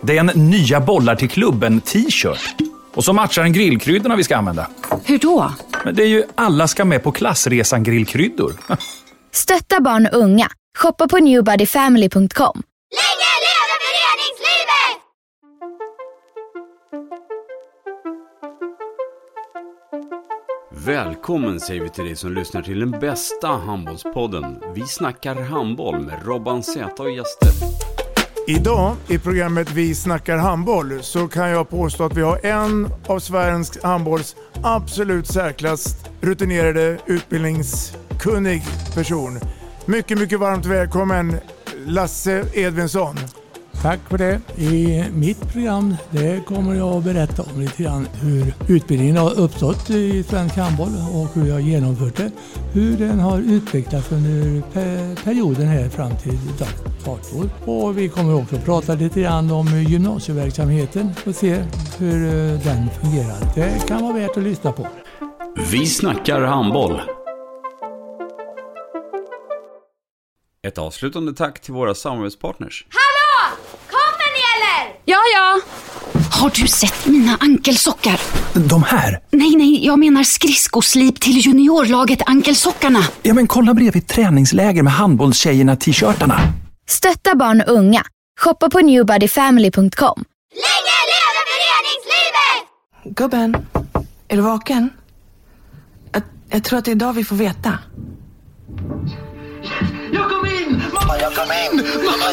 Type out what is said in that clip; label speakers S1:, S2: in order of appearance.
S1: Det är en nya bollar till klubben-t-shirt. Och så matchar den grillkryddorna vi ska använda.
S2: Hur då?
S1: Men det är ju alla ska med på klassresan grillkryddor.
S3: Stötta barn och unga. Shoppa på newbodyfamily.com.
S4: Länge leve föreningslivet!
S5: Välkommen säger vi till dig som lyssnar till den bästa handbollspodden. Vi snackar handboll med Robban Z och gäster.
S6: Idag i programmet Vi snackar handboll så kan jag påstå att vi har en av svensk handbolls absolut särklass rutinerade utbildningskunnig person. Mycket, mycket varmt välkommen Lasse Edvinsson.
S7: Tack för det. I mitt program det kommer jag att berätta om lite grann hur utbildningen har uppstått i svensk handboll och hur jag har genomfört det. Hur den har utvecklats under pe- perioden här fram till dagens Och vi kommer också att prata lite grann om gymnasieverksamheten och se hur eh, den fungerar. Det kan vara värt att lyssna på.
S5: Vi snackar handboll. Ett avslutande tack till våra samarbetspartners.
S4: Kommer ni eller?
S3: Ja, ja.
S2: Har du sett mina ankelsockar?
S1: De här?
S2: Nej, nej, jag menar skridskoslip till juniorlaget Ankelsockarna.
S1: Ja, men kolla bredvid träningsläger med handbollstjejerna-t-shirtarna.
S3: Stötta barn och unga. Shoppa på newbodyfamily.com.
S4: Länge leve föreningslivet!
S8: Gubben, är du vaken? Jag, jag tror att det är idag vi får veta.
S9: Jag kom in! Mamma, jag kom in! Mamma,